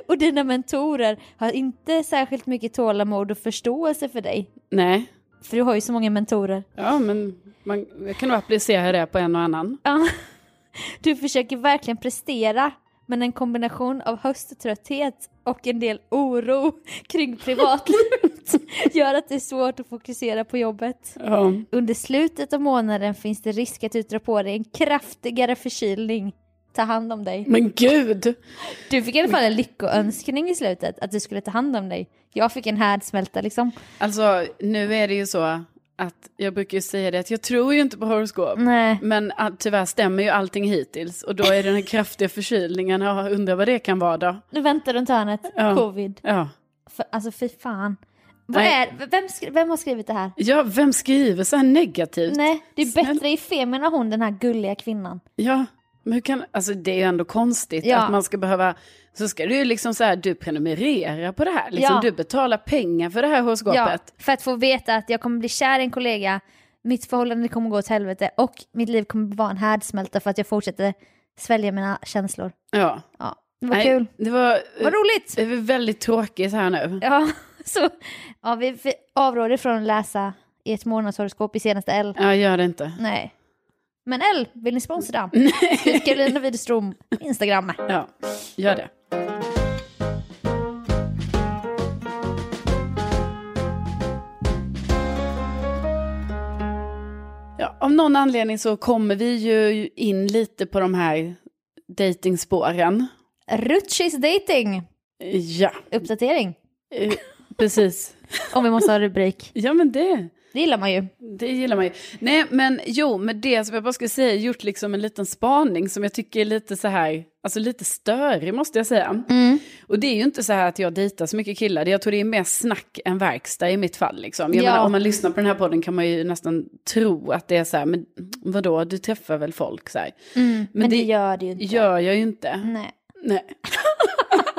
S2: och dina mentorer har inte särskilt mycket tålamod och förståelse för dig.
S1: nej.
S2: För du har ju så många mentorer.
S1: Ja, men man jag kan nog applicera det på en och annan.
S2: Ja. (laughs) Du försöker verkligen prestera, men en kombination av hösttrötthet och en del oro kring privatlivet gör att det är svårt att fokusera på jobbet.
S1: Ja.
S2: Under slutet av månaden finns det risk att du drar på dig en kraftigare förkylning. Ta hand om dig.
S1: Men gud!
S2: Du fick i alla fall en lyckoönskning i slutet, att du skulle ta hand om dig. Jag fick en härdsmälta liksom.
S1: Alltså, nu är det ju så att jag brukar ju säga det att jag tror ju inte på horoskop.
S2: Nej.
S1: Men ah, tyvärr stämmer ju allting hittills. Och då är det den här (laughs) kraftiga förkylningen, ja, undrar vad det kan vara då.
S2: Nu väntar runt hörnet,
S1: Ja.
S2: covid.
S1: Ja,
S2: För, alltså fy fan. Vad
S1: Nej.
S2: är, vem, skri- vem har skrivit det här?
S1: Ja, vem skriver så här negativt?
S2: Nej, det är
S1: Snälla.
S2: bättre i Femina hon, den här gulliga kvinnan.
S1: Ja, men hur kan, alltså det är ju ändå konstigt
S2: Ja.
S1: att man ska behöva, så ska du ju liksom så här, du prenumererar på det här, liksom,
S2: Ja.
S1: du betalar pengar för det här
S2: Ja,
S1: horoskopet.
S2: för att få veta att jag kommer bli kär i en kollega, mitt förhållande kommer gå åt helvete och mitt liv kommer vara en härdsmälta för att jag fortsätter svälja mina känslor.
S1: Ja.
S2: Ja, det var
S1: Nej, Eh,
S2: kul.
S1: Det var,
S2: Vad roligt!
S1: det var väldigt tråkigt här nu.
S2: Ja, (laughs) så, ja, vi vi avråder från att läsa ert månadshoroskop i senaste L.
S1: Ja, gör det inte.
S2: Nej. Men L, vill
S1: (laughs)
S2: ni sponsra? Skriv Karolina Widerström på Instagram.
S1: Ja, gör det. Ja, av någon anledning så kommer vi ju in lite på de här datingspåren.
S2: Rutschis dating,
S1: Ja,
S2: uppdatering.
S1: eh, precis.
S2: Om vi måste ha rubrik.
S1: Ja, men det,
S2: Det gillar man ju.
S1: det gillar man ju. Nej, men jo, med det som jag bara skulle säga, gjort liksom en liten spaning som jag tycker är lite så här, alltså lite störig måste jag säga.
S2: Mm.
S1: Och det är ju inte så här att jag dejtar så mycket killar, Det- jag tror det är mer snack än verkstad i mitt fall. Liksom. Jag
S2: Ja.
S1: menar, om man lyssnar på den här podden kan man ju nästan tro att det är så här, men vadå, du träffar väl folk så här.
S2: Men, det,
S1: det-
S2: gör det ju inte.
S1: Gör jag ju inte.
S2: Nej.
S1: Nej.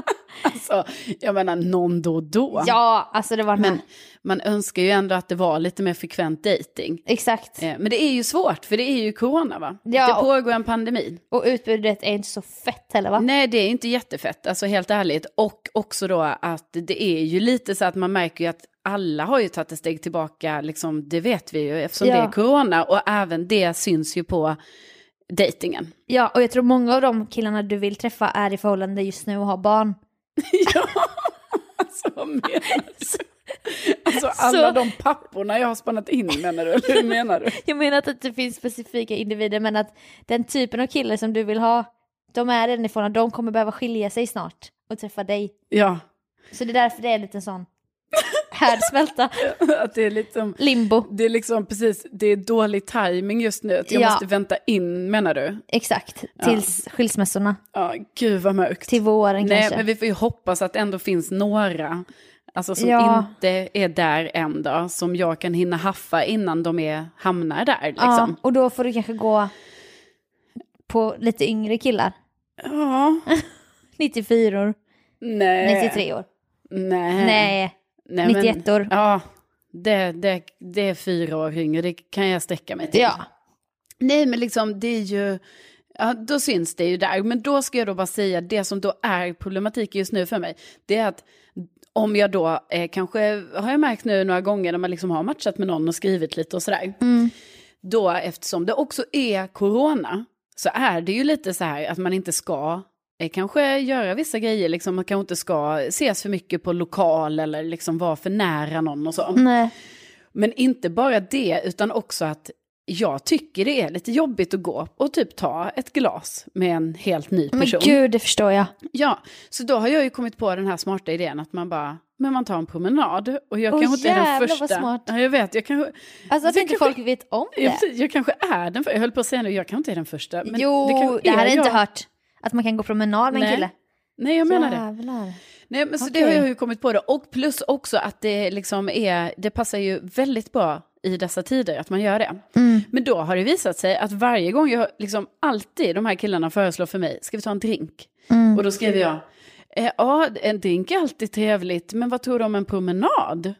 S1: (laughs) alltså, jag menar någon då och då.
S2: Ja, alltså det var den
S1: Men
S2: här.
S1: man önskar ju ändå att det var lite mer frekvent dejting.
S2: Exakt.
S1: Eh, Men det är ju svårt, för det är ju corona va?
S2: Ja,
S1: det
S2: och-
S1: pågår en pandemi.
S2: Och utbudet är inte så fett heller va?
S1: Nej, det är inte jättefett, alltså helt ärligt. Och också då att det är ju lite så att man märker ju att alla har ju tagit ett steg tillbaka, liksom, det vet vi ju, eftersom
S2: Ja.
S1: det är corona. Och även det syns ju på dejtingen.
S2: Ja, och jag tror många av de killarna du vill träffa är i förhållande just nu och har barn.
S1: (laughs) ja, (laughs) alltså vad menar du? Alltså alla
S2: Så-
S1: de papporna jag har spannat in menar du, eller hur menar du?
S2: Jag menar inte att det finns specifika individer men att den typen av kille som du vill ha, de är redan i förhållande, de kommer behöva skilja sig snart och träffa dig.
S1: Ja,
S2: Så det är därför det är
S1: (laughs)
S2: lite sån härdsmälta,
S1: att det är liksom...
S2: limbo.
S1: Det är liksom precis, det är dålig timing just nu. Att jag
S2: Ja.
S1: måste vänta in menar du?
S2: Exakt, tills skilsmässorna,
S1: Ja, gud vad mörkt.
S2: till våren
S1: Nej,
S2: kanske.
S1: men vi får ju hoppas att det ändå finns några. Alltså som
S2: Ja.
S1: inte är där än då, som jag kan hinna haffa innan de är, hamnar där liksom.
S2: Ja, och då får du kanske gå på lite yngre killar,
S1: Ja.
S2: 94 år,
S1: Nej.
S2: 93 år.
S1: eh, Nej.
S2: Nej.
S1: Nej,
S2: 91 år.
S1: Ja, det, det, det är fyra år yngre, det kan jag sträcka mig till.
S2: Ja.
S1: Nej, men liksom det är ju... Ja, då syns det ju där. Men då ska jag då bara säga, det som då är problematik just nu för mig, det är att om jag då eh, kanske, har jag märkt nu några gånger när man liksom har matchat med någon och skrivit lite och sådär, då eftersom det också är corona så är det ju lite så här att man inte ska eh, kanske göra vissa grejer, liksom, man kanske inte ska ses för mycket på lokal eller liksom vara för nära någon och så.
S2: Nej.
S1: Men inte bara det, utan också att jag tycker det är lite jobbigt att gå och typ ta ett glas med en helt ny
S2: Men
S1: person.
S2: gud, det förstår jag. Alltså,
S1: Ja, så då har jag ju kommit på den här smarta idén att man bara, men man tar en promenad. Och jag
S2: Åh,
S1: kanske inte är den
S2: jävlar, vad
S1: första.
S2: smart.
S1: Ja, jag vet, jag kanske,
S2: Alltså att
S1: Det
S2: inte
S1: kanske-
S2: folk vet om det.
S1: jag, jag kanske är den första. Jag höll på att säga nu, jag kanske inte är den första. Men
S2: jo, det,
S1: kanske
S2: här har jag
S1: jag.
S2: inte hört. Att man kan gå promenad med en
S1: Nej,
S2: kille.
S1: Nej, jag menar det.
S2: Jävlar.
S1: Nej, men så
S2: Okej.
S1: det har jag ju kommit på då. Och plus också att det liksom är, det passar ju väldigt bra i dessa tider att man gör det. Men då har det visat sig att varje gång jag liksom alltid de här killarna föreslår för mig, ska vi ta en drink? Och då skriver jag, eh, ja en drink är alltid trevligt, men vad tror du om en promenad?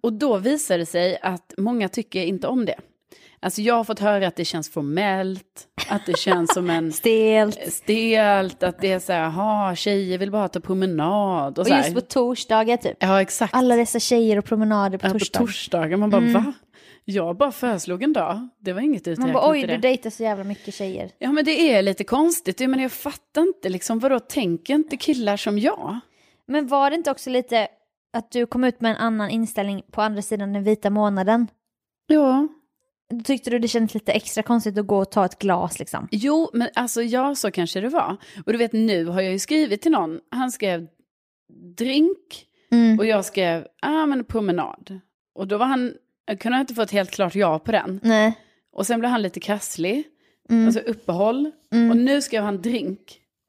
S1: Och då visar det sig att många tycker inte om det. Alltså jag har fått höra att det känns formellt, att det känns som
S2: (laughs)
S1: en
S2: Stelt.
S1: stelt, att det är så här, ha tjejer vill bara ta promenad och
S2: Och
S1: så här.
S2: just på torsdagar typ.
S1: Ja, exakt.
S2: Alla dessa tjejer och promenader på
S1: Ja, på
S2: torsdagar. Mm.
S1: torsdagar, man bara va? Jag bara föreslog en dag, det var inget
S2: Man
S1: uträknat
S2: bara oj,
S1: i
S2: du
S1: det.
S2: dejtar så jävla mycket tjejer.
S1: Ja men det är lite konstigt, jag, menar, jag fattar inte liksom, vadå tänker inte killar som jag?
S2: Men var det inte också lite att du kom ut med en annan inställning på andra sidan den vita månaden?
S1: Ja.
S2: Då tyckte du det kändes lite extra konstigt att gå och ta ett glas liksom?
S1: Jo, men alltså ja, så kanske det var. Och du vet nu har jag ju skrivit till någon, han skrev drink
S2: Mm.
S1: och jag skrev, ah men promenad. Och då var han, jag kunde inte få ett helt klart ja på den.
S2: Nej.
S1: Och sen blev han lite krasslig, alltså uppehåll. Och nu skrev han (laughs) drink.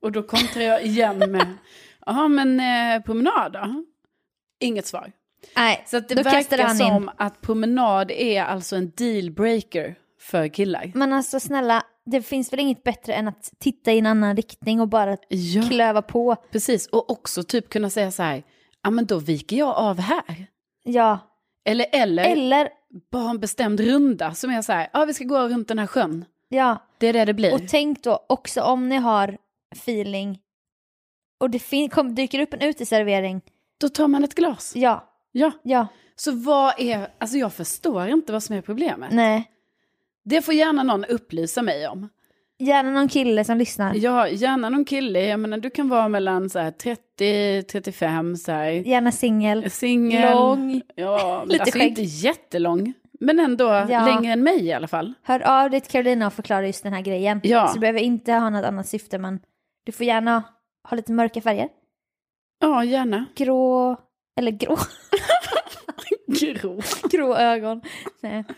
S1: Och då kontrar jag igen med, jaha men eh, promenad då? Inget svar.
S2: Nej,
S1: Så att det
S2: Då
S1: verkar
S2: kastade han in.
S1: som att promenad är alltså en dealbreaker för killar.
S2: men alltså snälla, det finns väl inget bättre än att titta i en annan riktning och bara
S1: Ja,
S2: klöva på.
S1: precis. Och också typ kunna säga så här, ja men då viker jag av här.
S2: Ja,
S1: Eller, eller,
S2: eller
S1: bara en bestämd runda som är så här, ja vi ska gå runt den här sjön.
S2: ja.
S1: Det är det det blir.
S2: Och tänk då också om ni har feeling och det fin- kom, dyker upp en uteservering.
S1: Då tar man ett glas.
S2: Ja,
S1: Ja.
S2: ja,
S1: Så vad är, alltså jag förstår inte vad som är problemet.
S2: nej.
S1: Det får gärna någon upplysa mig om.
S2: Gärna någon kille som lyssnar.
S1: Ja, gärna någon kille, jag menar du kan vara mellan så här 30, 35 så här.
S2: Gärna singel.
S1: Singel.
S2: Lång.
S1: Ja, men
S2: (laughs) Lite
S1: alltså
S2: skägg.
S1: inte jättelång. Men ändå
S2: Ja.
S1: längre än mig i alla fall.
S2: Hör av dig till Carolina och förklara just den här grejen.
S1: Ja.
S2: Så du behöver inte ha något annat syfte men du får gärna ha lite mörka färger.
S1: Ja, gärna.
S2: Grå, eller grå, (laughs)
S1: Grå.
S2: grå ögon. Nej. Eh,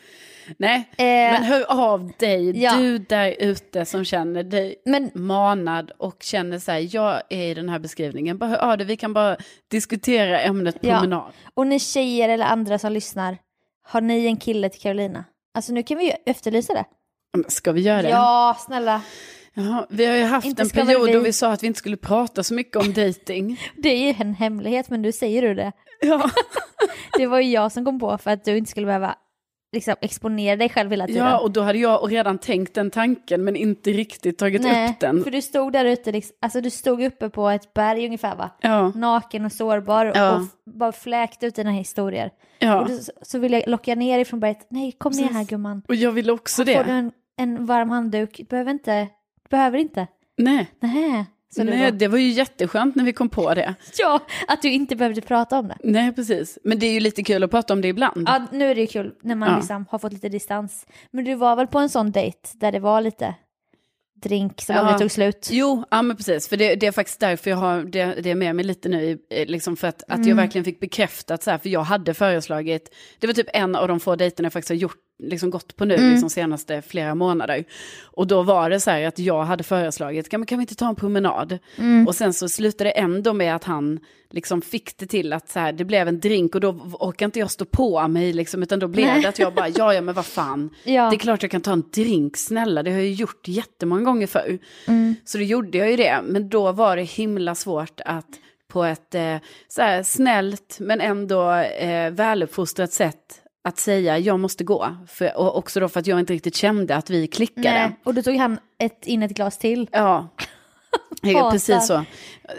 S1: Nej, men
S2: men,
S1: hör av dig,
S2: Eh. Ja.
S1: du där ute som känner dig manad och känner så här, jag är i den här beskrivningen, bara hör av dig, vi kan bara diskutera ämnet
S2: Ja.
S1: promenad.
S2: och ni tjejer eller andra som lyssnar, har ni en kille till Carolina? Alltså nu kan vi ju efterlysa det.
S1: Men Ska vi göra det?
S2: Ja, snälla.
S1: Jaha, vi har ju haft
S2: Inte
S1: en
S2: ska väl
S1: period
S2: vi-
S1: då vi sa att vi inte skulle prata så mycket om
S2: (laughs)
S1: dating.
S2: Det är ju en hemlighet men du säger du det.
S1: Ja,
S2: Det var ju jag som kom på för att du inte skulle behöva liksom, exponera dig själv hela tiden.
S1: ja och då hade jag redan tänkt den tanken men inte riktigt tagit upp den.
S2: för du stod där ute, liksom, alltså du stod uppe på ett berg ungefär va?
S1: Ja,
S2: Naken och sårbar och,
S1: Ja.
S2: och f- bara fläkt ut dina historier. Och
S1: ja.
S2: då, så ville jag locka ner ifrån berget, nej kom ner här gumman.
S1: Och jag ville också
S2: Får du
S1: det.
S2: en, en varm handduk, du behöver inte, du behöver inte.
S1: Nej,
S2: Nähä, sa du
S1: nej
S2: då.
S1: det var ju jätteskönt när vi kom på det.
S2: Ja, att du inte behövde prata om det.
S1: Nej, precis. Men det är ju lite kul att prata om det ibland.
S2: Ja, nu är det ju kul när man
S1: Ja.
S2: liksom har fått lite distans. Men du var väl på en sån dejt där det var lite drink som
S1: Ja.
S2: aldrig tog slut?
S1: Jo, ja men precis, för det, det är faktiskt därför jag har det, det med mig lite nu, i- eh, liksom för att,
S2: Mm.
S1: att jag verkligen fick bekräftat så här, för jag hade föreslagit, det var typ en av de få dejterna jag faktiskt har gjort, liksom gått på nu,
S2: Mm.
S1: liksom senaste flera månader. Och då var det så här att jag hade föreslagit, kan, kan vi inte ta en promenad?
S2: Mm.
S1: Och sen så slutade det ändå med att han liksom fick det till att så här, det blev en drink och då orkade inte jag stå på mig liksom, utan då blev
S2: Nej.
S1: det att jag bara, ja ja men vad fan,
S2: (laughs) Ja.
S1: det är klart jag kan ta en drink, snälla, det har jag ju gjort jättemånga gånger förr.
S2: Mm.
S1: Så då gjorde jag ju det, men då var det himla svårt att på ett eh, så här, snällt men ändå eh, väluppfostrat sätt att säga jag måste gå. För, och också då för att jag inte riktigt kände att vi klickade.
S2: Nej. Och då tog han ett, in ett glas till. (laughs)
S1: Ja,
S2: Hatar.
S1: ja precis så.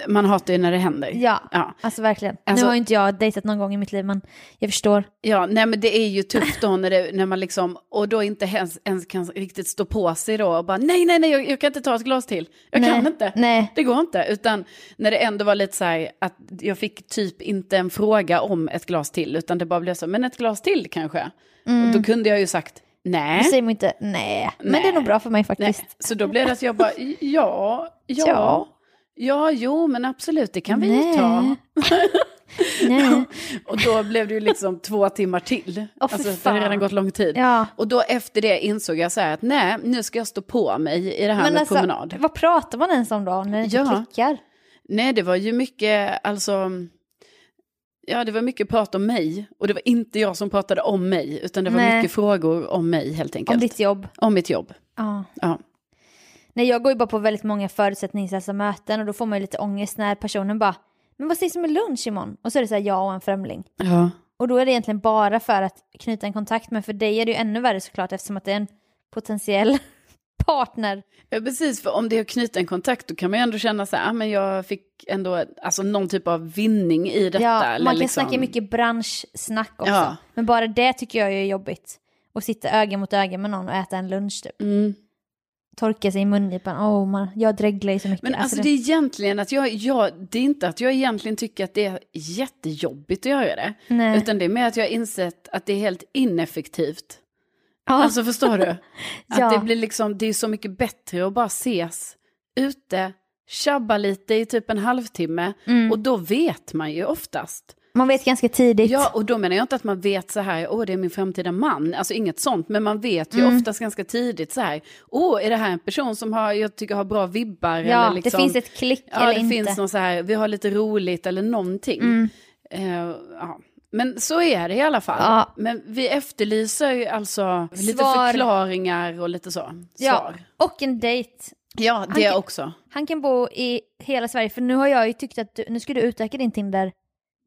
S1: Man hatar ju när det händer.
S2: Ja,
S1: Ja.
S2: alltså verkligen.
S1: Alltså-
S2: nu har ju inte jag dejtat någon gång i mitt liv men jag förstår.
S1: Ja, nej men det är ju tufft då när, det, när man liksom, och då inte ens, ens kan riktigt stå på sig då och bara nej, nej, nej, jag, jag kan inte ta ett glas till. Jag
S2: Nej,
S1: kan inte.
S2: nej.
S1: Det går inte. Utan när det ändå var lite så här att jag fick typ inte en fråga om ett glas till, utan det bara blev så, men ett glas till kanske. Och
S2: Mm.
S1: då kunde jag ju sagt
S2: Då
S1: nej.
S2: säger man inte nej. Men
S1: Nej.
S2: det är nog bra för mig faktiskt.
S1: nej. Så då blev det att jag bara ja, ja,
S2: Ja.
S1: ja, jo, men absolut, det kan vi
S2: Nej.
S1: ta. (laughs)
S2: Nej.
S1: Och då blev det ju liksom två timmar till.
S2: Åh, för
S1: alltså, det hade
S2: fan.
S1: redan gått lång tid.
S2: Ja.
S1: Och då efter det insåg jag så här att nej, nu ska jag stå på mig i det här
S2: Men
S1: med
S2: alltså,
S1: promenad.
S2: vad pratar man ens om då när det inte
S1: Ja.
S2: klickar?
S1: Nej, det var ju mycket, alltså, ja det var mycket prat om mig. Och det var inte jag som pratade om mig, utan det var
S2: Nej.
S1: mycket frågor om mig helt enkelt.
S2: Om ditt jobb?
S1: Om mitt jobb.
S2: Ja.
S1: Ja.
S2: Nej, jag går ju bara på väldigt många förutsättningslösa möten och då får man ju lite ångest när personen bara “men vad ses med lunch imorgon?” och så är det så här jag och en främling.
S1: Ja.
S2: Och då är det egentligen bara för att knyta en kontakt men för dig är det ju ännu värre såklart eftersom att det är en potentiell (laughs) partner.
S1: ja, precis, för om det är att knyta en kontakt då kan man ju ändå känna så här, ah, men jag fick ändå alltså, någon typ av vinning i detta.
S2: ja,
S1: eller
S2: man kan
S1: liksom-
S2: snacka mycket branschsnack också.
S1: Ja.
S2: Men bara det tycker jag är jobbigt. Att sitta öga mot öga med någon och äta en lunch typ.
S1: Mm.
S2: Torka sig i mungipan, oh, man, jag dreglar ju så mycket.
S1: Men alltså
S2: det-
S1: det är egentligen att jag, jag, det är inte att jag egentligen tycker att det är jättejobbigt att göra det.
S2: Nej.
S1: Utan det är mer att jag har insett att det är helt ineffektivt.
S2: Ja.
S1: Alltså förstår
S2: (laughs)
S1: du?
S2: Ja.
S1: Att det blir liksom, det är så mycket bättre att bara ses ute, tjabba lite i typ en halvtimme.
S2: Mm.
S1: Och då vet man ju oftast.
S2: Man vet ganska tidigt.
S1: Ja, och då menar jag inte att man vet så här, åh det är min framtida man, alltså inget sånt, men man vet ju
S2: Mm.
S1: oftast ganska tidigt så här, åh är det här en person som har, jag tycker har bra vibbar?
S2: Ja,
S1: eller liksom,
S2: det finns ett klick
S1: Ja,
S2: eller
S1: det
S2: inte. Mm.
S1: finns någon så här, vi har lite roligt eller någonting. Eh, ja. Men så är det i alla fall.
S2: Ja.
S1: Men vi efterlyser ju alltså lite
S2: Svar.
S1: förklaringar och lite så. Svar.
S2: Ja, och en dejt.
S1: ja det
S2: Anke-
S1: också.
S2: Han kan bo i hela Sverige för nu har jag ju tyckt att du, nu ska du utöka din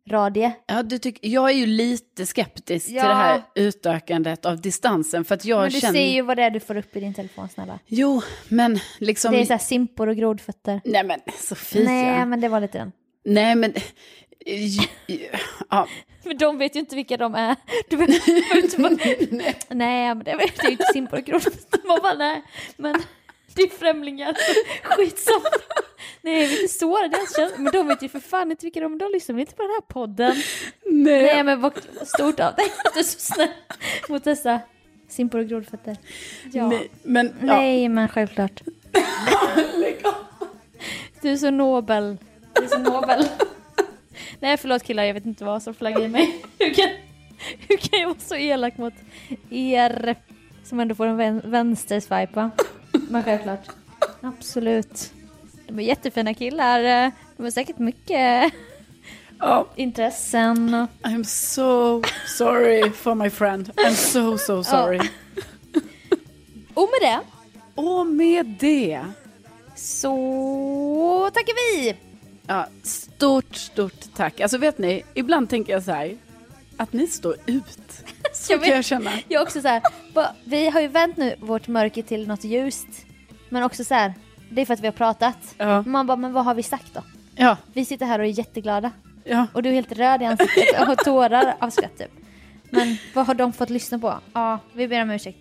S2: Tinder-radie.
S1: Ja, du tyck, jag är ju lite skeptisk
S2: Ja.
S1: till det här utökandet av distansen. För att jag
S2: Men du
S1: känner...
S2: ser ju vad det är du får upp i din telefon snälla.
S1: Jo, men liksom...
S2: Det är såhär simpor och grodfötter.
S1: Nej men Sofia.
S2: Nej men det var lite den.
S1: Nej men... J- j- Ja.
S2: För de vet ju inte vilka de är. (laughs) Du behöver inte bara... (laughs) (laughs) Nej men det vet ju inte simpor och grodfötter. Man bara nej men (laughs) det är främlingar. (laughs) Skitsamma. Nej vi är inte såra deras känslor. Men de vet ju för fan inte vilka de är. De lyssnar väl inte på den här podden.
S1: Nej.
S2: Nej men vad vad stort av dig att du är så snäll mot dessa simpor och grodfötter. Ja.
S1: Nej, men... Ja.
S2: Nej, men självklart. Du är så nobel. Du är så nobel. Nej, förlåt killar, jag vet inte vad som flaggade i mig. Hur kan, hur kan jag vara så elak mot er som ändå får en vän, vänsterswipa? Men självklart. Absolut. De är jättefina killar. De har säkert mycket
S1: Ja.
S2: intressen. och-
S1: I'm so sorry for my friend. I'm so so sorry.
S2: Och med det
S1: Och med det.
S2: så tackar vi!
S1: Ja, stort, stort tack. Alltså vet ni, ibland tänker jag så här, att ni står
S2: (laughs)
S1: ut. Så
S2: Jag
S1: kan jag
S2: vet.
S1: känna.
S2: Jag är
S1: (laughs)
S2: också så här, va- vi har ju vänt nu vårt mörker till något ljust. Men också så här, det är för att vi har pratat.
S1: Ja,
S2: Man bara, men vad har vi sagt då?
S1: ja,
S2: Vi sitter här och är jätteglada.
S1: ja.
S2: Och du är helt röd i ansiktet
S1: (laughs)
S2: och har tårar av skratt typ. Men vad har de fått lyssna på? Ja, vi ber om ursäkt.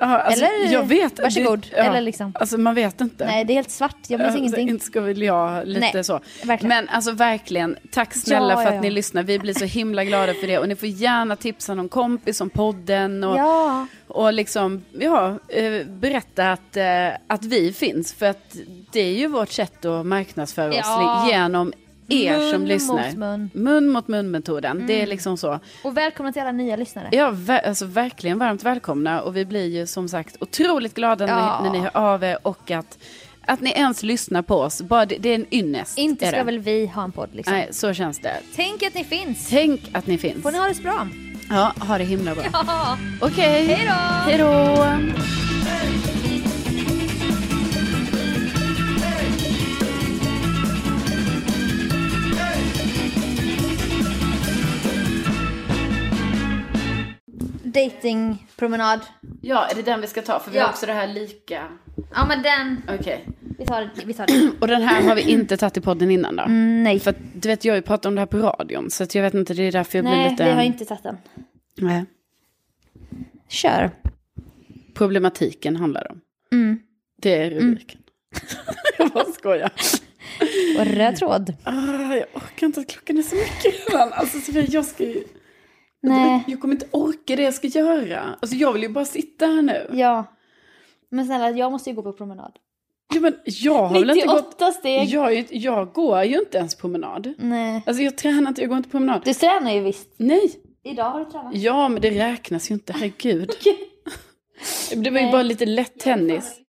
S1: ja alltså,
S2: Eller,
S1: jag vet,
S2: varsågod.
S1: Det, ja,
S2: Eller liksom.
S1: Alltså man vet inte.
S2: Nej, det är helt svart. Jag minns
S1: Alltså,
S2: ingenting.
S1: Inte ska väl jag lite
S2: Nej,
S1: så.
S2: verkligen.
S1: Men alltså verkligen, tack snälla
S2: Ja,
S1: för
S2: ja,
S1: att ni
S2: ja.
S1: lyssnar. Vi blir så himla glada för det. Och ni får gärna tipsa någon kompis om podden. Och,
S2: Ja,
S1: och liksom, ja, eh, berätta att, eh, att vi finns. För att det är ju vårt sätt att marknadsföra
S2: Ja.
S1: oss li- genom er
S2: Mun
S1: som
S2: mot
S1: lyssnar.
S2: mun. Mm.
S1: mun mot mun-metoden. Det är liksom så.
S2: och välkomna till alla nya lyssnare.
S1: Ja, ver- alltså verkligen varmt välkomna. Och vi blir ju som sagt otroligt glada
S2: Ja.
S1: när, när ni hör av er. Och att, att ni ens lyssnar på oss. Bara det, det är en ynnest.
S2: Inte
S1: är
S2: ska
S1: det.
S2: väl vi ha en podd liksom.
S1: Nej, så känns det.
S2: Tänk att ni finns.
S1: Tänk att ni finns.
S2: Får ni ha det så bra.
S1: Ja, ha det himla bra.
S2: Ja.
S1: Okej.
S2: Hej då!
S1: Hej då!
S2: Datingpromenad.
S1: Ja, är det den vi ska ta? För vi
S2: Ja.
S1: har också det här lika.
S2: Ja men den.
S1: Okej.
S2: Vi tar det. Vi
S1: (clears throat)
S2: tar det.
S1: Och den här har vi inte tagit i podden innan då?
S2: Nej.
S1: Mm, För att, du vet, jag har ju pratat om det här på radion. Så att jag vet inte, det är därför jag blir
S2: Nej,
S1: lite...
S2: vi har inte tagit den.
S1: Nej.
S2: Kör.
S1: Problematiken handlar om.
S2: Mm.
S1: Det är rubriken. (laughs) jag bara skojar.
S2: Och röd tråd.
S1: Ah, jag orkar inte att klockan är så mycket redan. Alltså Sofia, jag ska ju...
S2: Nej.
S1: Jag kommer inte orka det jag ska göra. Alltså jag vill ju bara sitta här nu.
S2: Ja. Men snälla, jag måste ju gå på promenad.
S1: Ja, men jag har väl inte gått...
S2: 98 steg.
S1: Jag, är ju- jag går ju inte ens promenad.
S2: Nej.
S1: Alltså jag tränar inte, jag går inte promenad.
S2: Du tränar ju visst.
S1: Nej,
S2: Idag har du tränat.
S1: ja men det räknas ju inte, herregud. Det var ju
S2: Nej.
S1: bara lite lätt tennis.